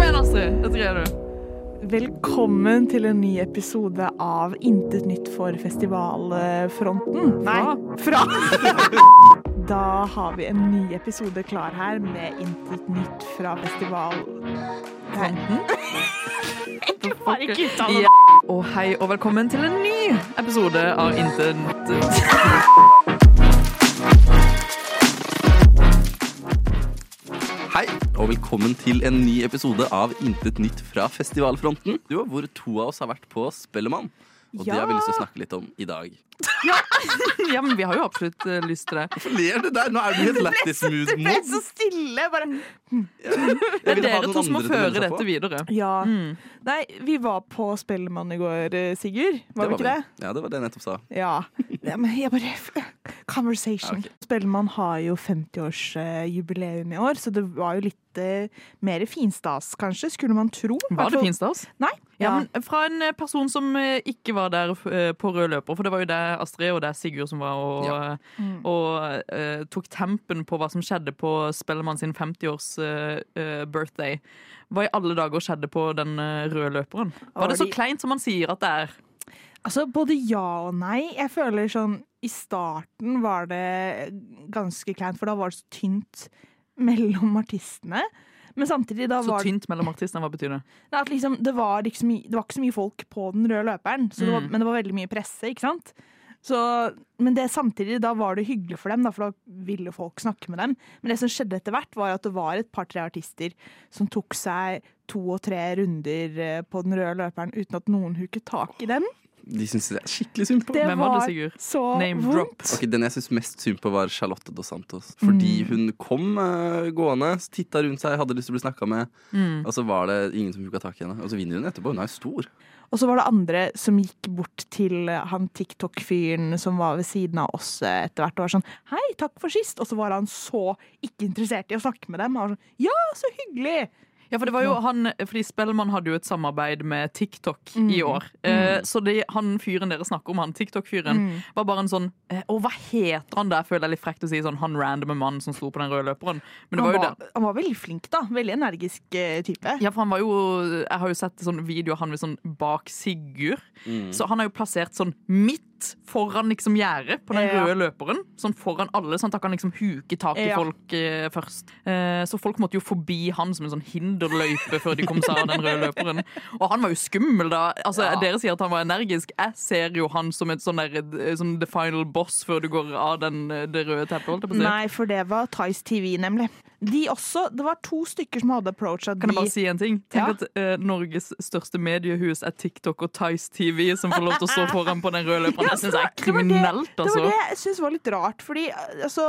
Astrid, dette greier du. Velkommen til en ny episode av Intet nytt for festivalfronten. Nei. Fra. Da har vi en ny episode klar her med Intet nytt fra festivalfronten. Bare ikke uttale det. Og hei og velkommen til en ny episode av Internett. Hei, og velkommen til en ny episode av Intet nytt fra festivalfronten. Du, Hvor to av oss har vært på Spellemann. Og det Ja. har vi lyst til å snakke litt om i dag. Ja, men vi har jo absolutt eh, lyst til det. Hvorfor ler du der? Nå er du i et lættis mood Det er så stille! Bare Det er dere to som må føre dette videre. Ja. Nei, vi var på Spellemann i går, eh, Sigurd. Var vi ikke det? Ja, det var det jeg nettopp sa. Ja. ja men jeg bare Conversation. Ja, Spellemann har jo 50-årsjubileum i år, så det var jo litt eh, mer finstas, kanskje, skulle man tro. Var det Hvertfall- fint stas? Nei. Ja, men fra en eh, person som eh, ikke var der eh, på rød løper, for det var jo det Astrid og det Sigurd som var og, Ja. Mm. og eh, tok tempen på hva som skjedde på Spellemann sin 50-års eh, eh, birthday. Hva i alle dager skjedde på den eh, røde løperen? Var Var det så de- kleint som man sier at det er? Altså, både ja og nei. Jeg føler sånn I starten var det ganske kleint, for da var det så tynt mellom artistene. Men samtidig, da Så var det, tynt mellom artistene, hva betyr det? Nei, at liksom, det, var ikke så mye, det var ikke så mye folk på den røde løperen, så det var, Mm. men det var veldig mye presse, ikke sant? Så, men det, samtidig, da var det hyggelig for dem, da, for da ville folk snakke med dem. Men det som skjedde etter hvert, var at det var et par-tre artister som tok seg to og tre runder eh, på den røde løperen uten at noen huket tak i dem. De syns det er skikkelig synd på. Det Hvem var det, Sigurd? så Name vondt. drop. Ok, Den jeg syns mest synd på, var Charlotte Dos Santos. Fordi Mm. hun kom eh, gående, titta rundt seg, hadde lyst til å bli snakka med, Mm. og så var det ingen som hooka tak i henne. Og så vinner hun etterpå. Hun er jo stor. Og så var det andre som gikk bort til han TikTok-fyren som var ved siden av oss eh, etter hvert og var sånn Hei, takk for sist. Og så var han så ikke interessert i å snakke med dem. Han var sånn Ja, så hyggelig! Ja, for det var jo han, fordi Spellemann hadde jo et samarbeid med TikTok i år. Eh, så det, han fyren dere snakker om, han TikTok-fyren, var bare en sånn eh, Å, hva heter han? Det føler jeg er litt frekt å si sånn han randomme mannen som sto på den røde løperen. Men det Han var jo var, det. han var veldig flink, da. Veldig energisk eh, type. Ja, for han var jo Jeg har jo sett sånn videoer han med sånn bak Sigurd. Mm. Så han er jo plassert sånn midt foran liksom gjerdet på den Ja. røde løperen. Sånn foran alle, sånn at han kan liksom huke tak i Ja. folk eh, først. Eh, så folk måtte jo forbi han som en sånn hinderløype før de kom seg av den røde løperen. Og han var jo skummel, da. Altså, Dere sier at han var energisk. Jeg ser jo han som et sånn der eh, sånn The Final Boss før du går av den, eh, det røde teppet, holdt jeg på å si. Nei, for det var Tice TV, nemlig. De også, Det var to stykker som hadde approacha Kan de. jeg bare si en ting? Ja. Tenk at eh, Norges største mediehus er TikTok og Tice TV, som får lov til å stå foran på den røde løperen. Det syns jeg er Det var det- kriminelt, Det var altså. det jeg syns var litt rart. Fordi, altså,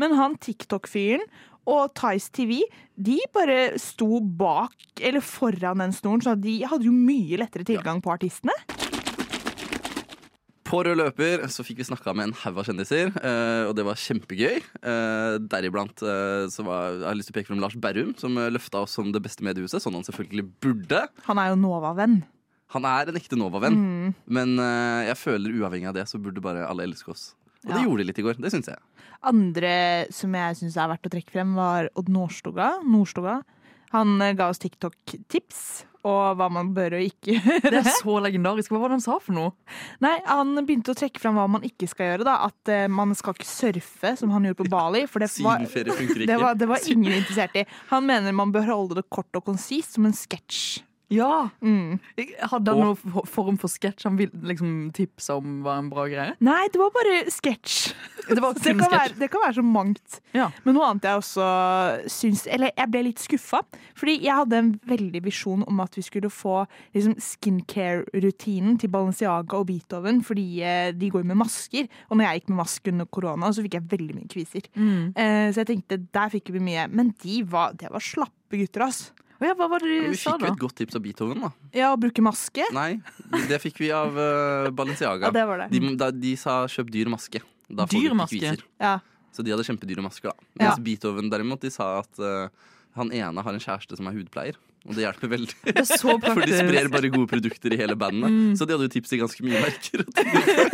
men han TikTok-fyren og Tice TV de bare sto bak eller foran den snoren, så de hadde jo mye lettere tilgang på artistene. På rød løper så fikk vi snakka med en haug av kjendiser, eh, og det var kjempegøy. Eh, Deriblant eh, så var, jeg har lyst til å peke frem Lars Berrum, som eh, løfta oss som det beste mediehuset, sånn han selvfølgelig burde. Han er jo Nova-venn. Han er en ekte Nova-venn, Mm. men eh, jeg føler uavhengig av det så burde bare alle elske oss. Og det Ja. gjorde de litt i går, det syns jeg. Andre som jeg syns er verdt å trekke frem, var Odd Nordstoga. Nordstoga. Han eh, ga oss TikTok-tips. Og hva man bør og ikke Det er så legendarisk. Hva var det han sa for noe? Nei, Han begynte å trekke fram hva man ikke skal gjøre. da At eh, man skal ikke surfe, som han gjorde på Bali. For det var, Sydenferie funker Det ikke. var, det var ingen interessert i. Han mener man bør holde det kort og konsist, som en sketsj. Ja! Mm. Hadde han noen for- form for sketsj han vil liksom tipsa om var en bra greie? Nei, det var bare sketsj. Det var Så Det, kun kan sketsj. være- det kan være så mangt. Ja. Men noe annet jeg også syns Eller jeg ble litt skuffa. Fordi jeg hadde en veldig visjon om at vi skulle få liksom, skincare-rutinen til Balenciaga og Beethoven, fordi eh, de går jo med masker. Og når jeg gikk med maske under korona, så fikk jeg veldig mye kviser. Eh, så jeg tenkte der fikk vi mye. Men de var, det var slappe gutter, ass. Å ja, hva var det de Vi sa, fikk jo da? et godt tips av Beethoven, da. Ja, å bruke maske. Nei, det fikk vi av eh, Balenciaga. Ja, det var det. De, da, de sa 'kjøp dyr maske'. Da får Dyr du ikke maske? kviser. Ja. Så de hadde kjempedyre masker, da. Mens Ja. Beethoven derimot, de sa at eh, Han ene har en kjæreste som er hudpleier, og det hjelper veldig. Det er så For de sprer praktisk. Mm. bare gode produkter i hele bandet. Så de hadde jo tips i ganske mye merker. og ting.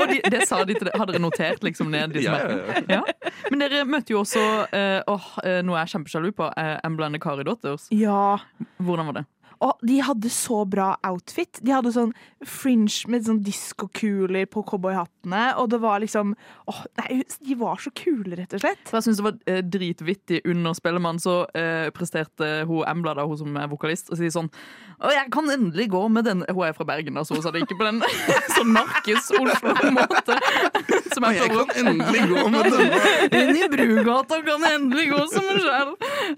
Og de, det sa de til deg. Har dere notert liksom ned disse Ja, ja, merkene? ja. Ja. Men dere møtte jo også eh, åh, eh, noe jeg er kjempesjalu på. Uh, Amblande Kari Daughters. Ja. Hvordan var det? Og de hadde så bra outfit. De hadde sånn fringe med sånn diskokuler på cowboyhattene, og det var liksom åh, nei, De var så kule, rett og slett. For jeg synes det var eh, dritvittig under Spellemann, så eh, presterte hun Embla, da, hun som er vokalist, og sier sånn Å, jeg kan endelig gå med den Hun er fra Bergen, da, så hun sa det ikke på den sånn narkis-Oslo-måte. Som Og jeg jeg prøver kan endelig gå med denne! inn i Brugata, kan jeg endelig gå som en sjel.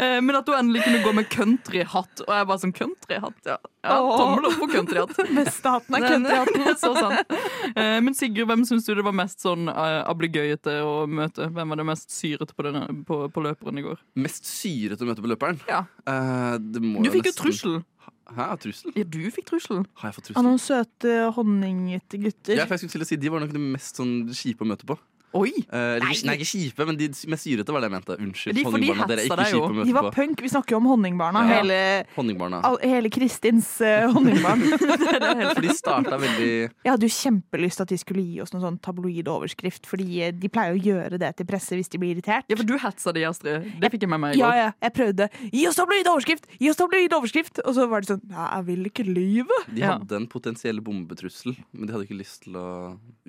Eh, men at hun endelig kunne gå med countryhatt, og jeg bare sånn Countryhatt, ja. ja Åh. tommel opp på countryhatt. Bestehatten er Den- kødda. så sant. Eh, men Sigurd, hvem syns du det var mest sånn uh, ablegøyete å møte? Hvem var det mest syrete på, denne, på, på løperen i går? Mest syrete møte på løperen. Ja. Eh, det må Du fikk jo nesten- trussel. Hæ, trussel? Ja, du fikk trussel. Har jeg fått Av trussel? noen søte, honningete gutter. Ja, for jeg skulle til å si, De var nok det mest sånn, kjipe å møte på. Oi! Eh, eller, nei. ikke kjipe, men de mest syrete var det jeg mente. Unnskyld. De- for de honningbarna, dere er hetsa ikke deg jo. kjipe å De møte var på. punk. Vi snakker jo om honningbarna. Ja. Hele, Honningbarna. all, hele Kristins eh, honningbarn. For de starta veldig Jeg hadde jo kjempelyst til at de skulle gi oss noen sånn tabloid overskrift, fordi eh, de pleier å gjøre det til presse hvis de blir irritert. Ja, for du hetsa de, Astrid. Det fikk jeg med meg i Ja, går. ja, jeg prøvde. Gi oss tabloid overskrift! Gi oss tabloid overskrift! Og så var det sånn Nei, jeg vil ikke lyve. De Ja. hadde en potensiell bombetrussel, men de hadde ikke lyst til å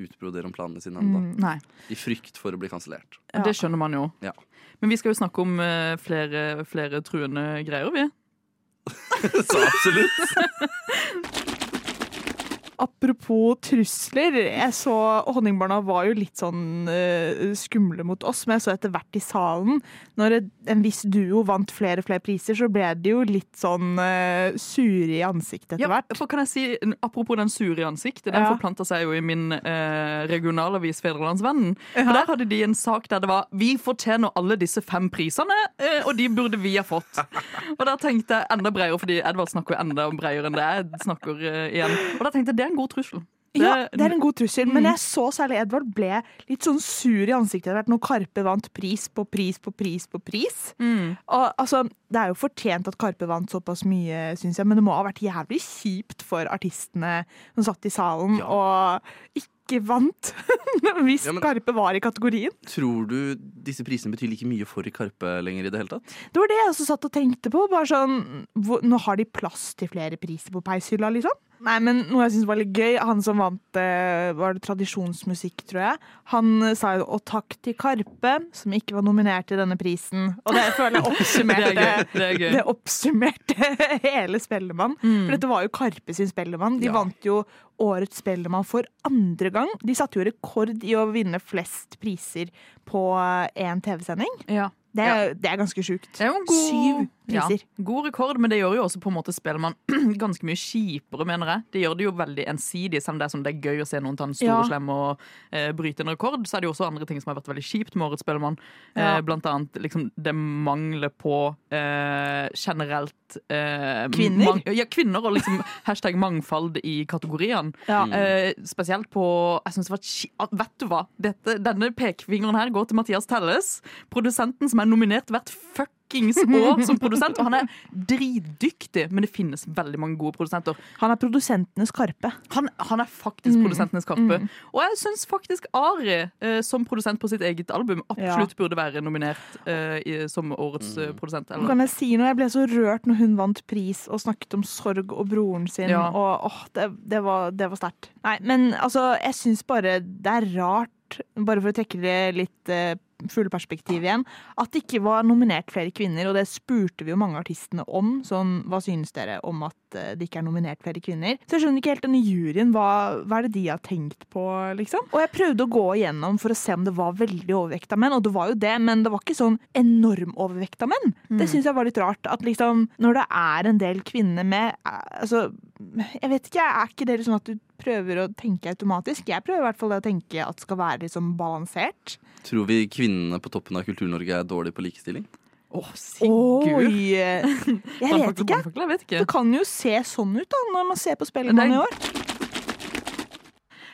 utbrodere om planene sine ennå. Nei, I frykt for å bli kansellert. Ja. Det skjønner man jo. Ja. Men vi skal jo snakke om eh, flere, flere truende greier, vi. Så absolutt. Apropos trusler. Jeg så Honningbarna var jo litt sånn eh, skumle mot oss, men jeg så etter hvert i salen Når et- en viss duo vant flere og flere priser, så ble de jo litt sånn eh, sure i ansiktet etter Ja, hvert. for kan jeg si, Apropos den sure i ansiktet, den Ja. forplanta seg jo i min eh, regionalavis Fedrelandsvennen. For Der hadde de en sak der det var 'Vi fortjener alle disse fem prisene', eh, og de burde vi ha fått. Og der tenkte jeg enda bredere, fordi Edvard snakker jo enda bredere enn det jeg snakker eh, igjen. Og da tenkte jeg det er en god trussel. Det- Ja, det er en god trussel, men jeg så særlig Edvard ble litt sånn sur i ansiktet etter hvert når Karpe vant pris på pris på pris på pris. Mm. Og, altså, det er jo fortjent at Karpe vant såpass mye, syns jeg, men det må ha vært jævlig kjipt for artistene som satt i salen Ja. og ikke vant. Hvis Ja, men- Karpe var i kategorien. Tror du disse prisene betyr like mye for Karpe lenger i det hele tatt? Det var det jeg også satt og tenkte på. Bare sånn, hvor, nå har de plass til flere priser på peishylla, liksom. Nei, men Noe jeg syns var litt gøy, han som vant eh, var det tradisjonsmusikk, tror jeg, han eh, sa jo 'og takk til Karpe', som ikke var nominert til denne prisen. Og det føler jeg Det er oppsummerte gøy. Det er gøy. Mm. det oppsummerte hele Spellemann. For dette var jo Karpe sin Spellemann. De Ja. vant jo Årets Spellemann for andre gang. De satte jo rekord i å vinne flest priser på én TV-sending. Ja. Det, er- det er ganske sjukt. Det er jo en god, Syv priser. Ja, god rekord, men det gjør jo også på en måte Spellemann ganske mye kjipere, mener jeg. Det gjør det jo veldig ensidig, selv om det er, som det er gøy å se noen ta en stor Ja. og slem og eh, bryte en rekord, så er det jo også andre ting som har vært veldig kjipt med årets Spellemann. Eh, Ja. blant annet liksom, det manglet på eh, generelt eh, Kvinner? mang- ja, kvinner, og liksom hashtag mangfold i kategoriene. Ja. Eh, spesielt på jeg synes det var kji- ah, Vet du hva? Dette, denne pekefingeren her går til Mathias Telles, produsenten som er nominert hvert fuckings år som produsent. Og han er dritdyktig, men det finnes veldig mange gode produsenter. Han er produsentenes Karpe. Han, han er faktisk Mm. produsentenes kappe. Og jeg syns faktisk Ari, eh, som produsent på sitt eget album, absolutt burde være nominert eh, i, som årets eh, produsent. Nå Eller? Kan jeg si noe? Jeg ble så rørt når hun vant pris og snakket om sorg og broren sin. Ja. Og åh, det, det var, det var sterkt. Nei, men altså, jeg syns bare det er rart, bare for å trekke det litt uh, fugleperspektiv igjen, at det ikke var nominert flere kvinner. Og det spurte vi jo mange av artistene om. Sånn, hva synes dere om at eh, det ikke er nominert flere kvinner? Så jeg skjønner ikke helt denne juryen. Hva, hva er det de har tenkt på, liksom? Og jeg prøvde å gå igjennom for å se om det var veldig overvekt av menn, og det var jo det, men det var ikke sånn enorm overvekt av menn. Det syns jeg var litt rart. At liksom, når det er en del kvinner med eh, Altså, jeg vet ikke, er ikke det sånn at du prøver å tenke automatisk? Jeg prøver i hvert fall det å tenke at det skal være liksom balansert. Tror vi kvinnene på toppen av Kultur-Norge er dårlige på likestilling? Å, Sigurd! Oi! eh, Jeg vet Brannfakkel, ikke. brannfakkel, jeg vet ikke. Det kan jo se sånn ut da, når man ser på Men det Spellemann er- i år.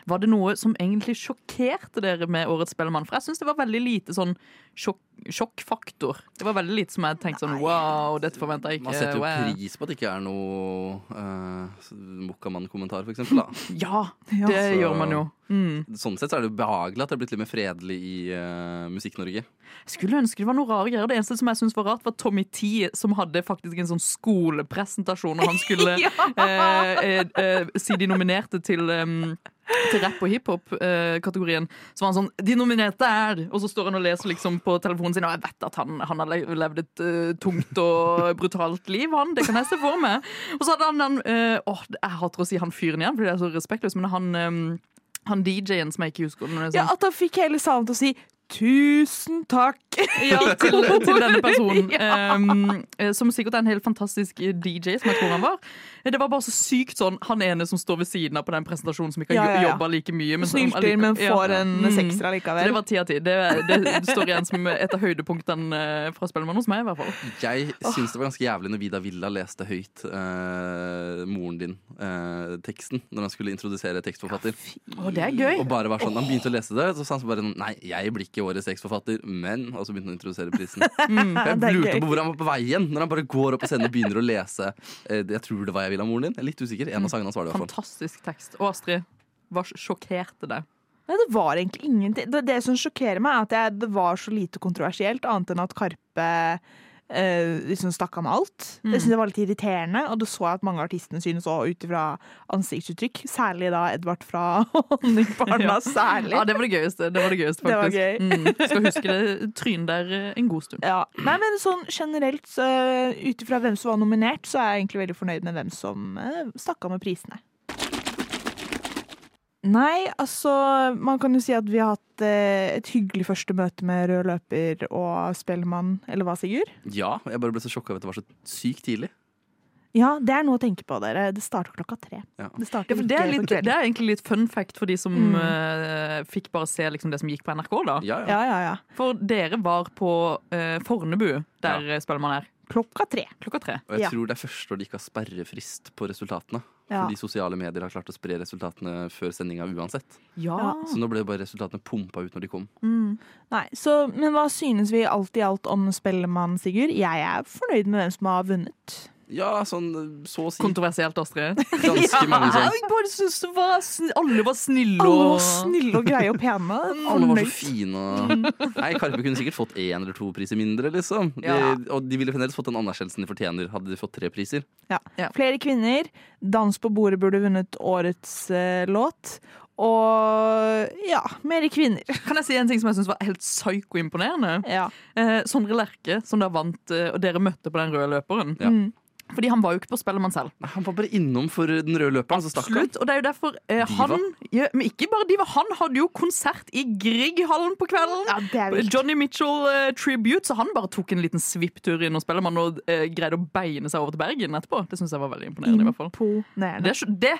Var det noe som egentlig sjokkerte dere med Årets Spellemann? For jeg syns det var veldig lite sånn sjokk, sjokkfaktor. Det var veldig lite som jeg tenkte sånn wow, dette forventa jeg ikke. Man setter jo wow. pris på at det ikke er noe uh, Mokkamann-kommentar, for eksempel. Da. Ja, Ja. det Så- gjør man jo. Mm. Sånn sett så er det jo behagelig at det er blitt litt mer fredelig i eh, Musikk-Norge. Jeg skulle ønske det var noe rare greier. Det eneste som jeg synes var rart, var Tommy T, som hadde faktisk en sånn skolepresentasjon, og han skulle Ja. eh, eh, eh, si de nominerte til em, til rapp- og hiphop-kategorien. så var han sånn 'De nominerte er' Og så står han og leser liksom på telefonen sin, og jeg vet at han, han har le- levd et eh, tungt og brutalt liv, han. Det kan jeg se for meg. Og så hadde han den eh, Åh, jeg hater å si han fyren igjen, fordi det er så respektløst, men han, em, han DJ-en som jeg ikke husker om det er Ja, sånn. at han fikk hele salen til å si 'tusen takk'. Ja, til, til denne personen. Ja. Um, eh, som sikkert er en helt fantastisk eh, DJ, som jeg tror han var. Eh, Det var bare så sykt sånn han ene som står ved siden av på den presentasjonen, som ikke har Ja, ja, ja. jobba like mye. Men som Snylter, allike- men Ja. får en Mm. sekser Så det allikevel. var ti av ti. Det, det står igjen som et av høydepunktene eh, fra Spellemann hos meg. i hvert fall Jeg syns det var ganske jævlig når Vida Villa leste høyt eh, moren din-teksten. når han skulle introdusere tekstforfatter. Å, det er gøy. Og bare var sånn, Han begynte å lese det, så sa han bare sånn Nei, jeg blir ikke årets tekstforfatter, men Og så begynte han å introdusere prisen. Jeg Mm, det er lurte gøy. på hvor han var på vei igjen, når han bare går opp på scenen og begynner å lese eh, Jeg tror det var Jeg vil ha moren din. Jeg er litt usikker. Mm. En av sangene hans var det. i hvert fall. Fantastisk tekst. Og Astrid, hva sj- sjokkerte deg? Nei, det var egentlig ingenting. Det, det som sjokkerer meg, er at jeg, det var så lite kontroversielt, annet enn at Karpe eh, liksom stakk av med alt. Mm. Det synes jeg var litt irriterende, og det så jeg at mange av artistene synes òg, ut ifra ansiktsuttrykk. Særlig da Edvard fra Honningbarna, Ja. særlig. Ja, Det var det gøyeste. Det var det gøyeste Det var faktisk gøy. Mm. Skal huske det trynet der eh, en god stund. Ja. Nei, men sånn generelt, så, eh, ut ifra hvem som var nominert, så er jeg egentlig veldig fornøyd med hvem som eh, stakk av med prisene. Nei, altså Man kan jo si at vi har hatt eh, et hyggelig første møte med rød løper og spellemann, eller hva, Sigurd? Ja, jeg bare ble så sjokka over at det var så sykt tidlig. Ja, det er noe å tenke på, dere. Det starter klokka tre. Ja. Det starter Ja, for det, er ikke på litt, kvelden. det er egentlig litt fun fact for de som Mm. eh, fikk bare se liksom, det som gikk på NRK. da. Ja, ja. Ja, ja, ja. For dere var på eh, Fornebu, der eh, ja. Spellemann er, Klokka tre. klokka tre. Og jeg Ja. tror det er første år de ikke har sperrefrist på resultatene. Ja. Fordi sosiale medier har klart å spre resultatene før sendinga uansett. Ja. Ah. Så nå ble bare resultatene pumpa ut når de kom. Nei, så, men hva synes vi alt i alt om Spellemann, Sigurd? Jeg er fornøyd med hvem som har vunnet. Ja, sånn så å si. Kontroversielt, Astrid. Ganske mange sånn. Jeg bare synes det var sn Alle var snille Alle og var snille og greie og pene. Alle var så Fornøyd. fine. og- Nei, Karpe kunne sikkert fått én eller to priser mindre, liksom. De, Ja. Og de ville fremdeles fått den anerkjennelsen de fortjener, hadde de fått tre priser. Ja. Ja. Flere kvinner. 'Dans på bordet' burde vunnet årets eh, låt. Og ja, mer kvinner. Kan jeg si en ting som jeg synes var helt psyko-imponerende? Ja. Eh, Sondre Lerche, som da vant, eh, og dere møtte på den røde løperen. Ja. Mm. Fordi han var jo ikke på Spellemann selv. Nei, Han var bare innom for den røde løperen, så stakk han. Absolutt, og det er jo derfor eh, Diva. han ja, Men ikke bare Diva, han hadde jo konsert i Grieghallen på kvelden. ja, det er vilt. Johnny Mitchell eh, tribute, så han bare tok en liten svipptur inn og Spellemann og eh, greide å beine seg over til Bergen etterpå. Det syns jeg var veldig imponerende. i hvert fall Det Imponerende. Mm. er, sj- det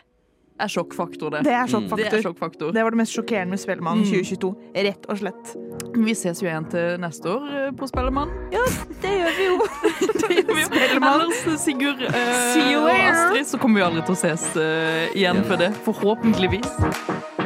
er sjokkfaktor, det. Mm. Det er Mm. sjokkfaktor. Det er sjokkfaktor. Det var det mest sjokkerende med Spellemann 2022. Rett og slett. Vi ses jo igjen til neste år eh, på Spellemann. Ja, det gjør vi jo. Spellemann. Ellers, Sigurd eh, See you og later. Astrid, så kommer vi aldri til å ses eh, igjen Igjen. for det. Forhåpentligvis.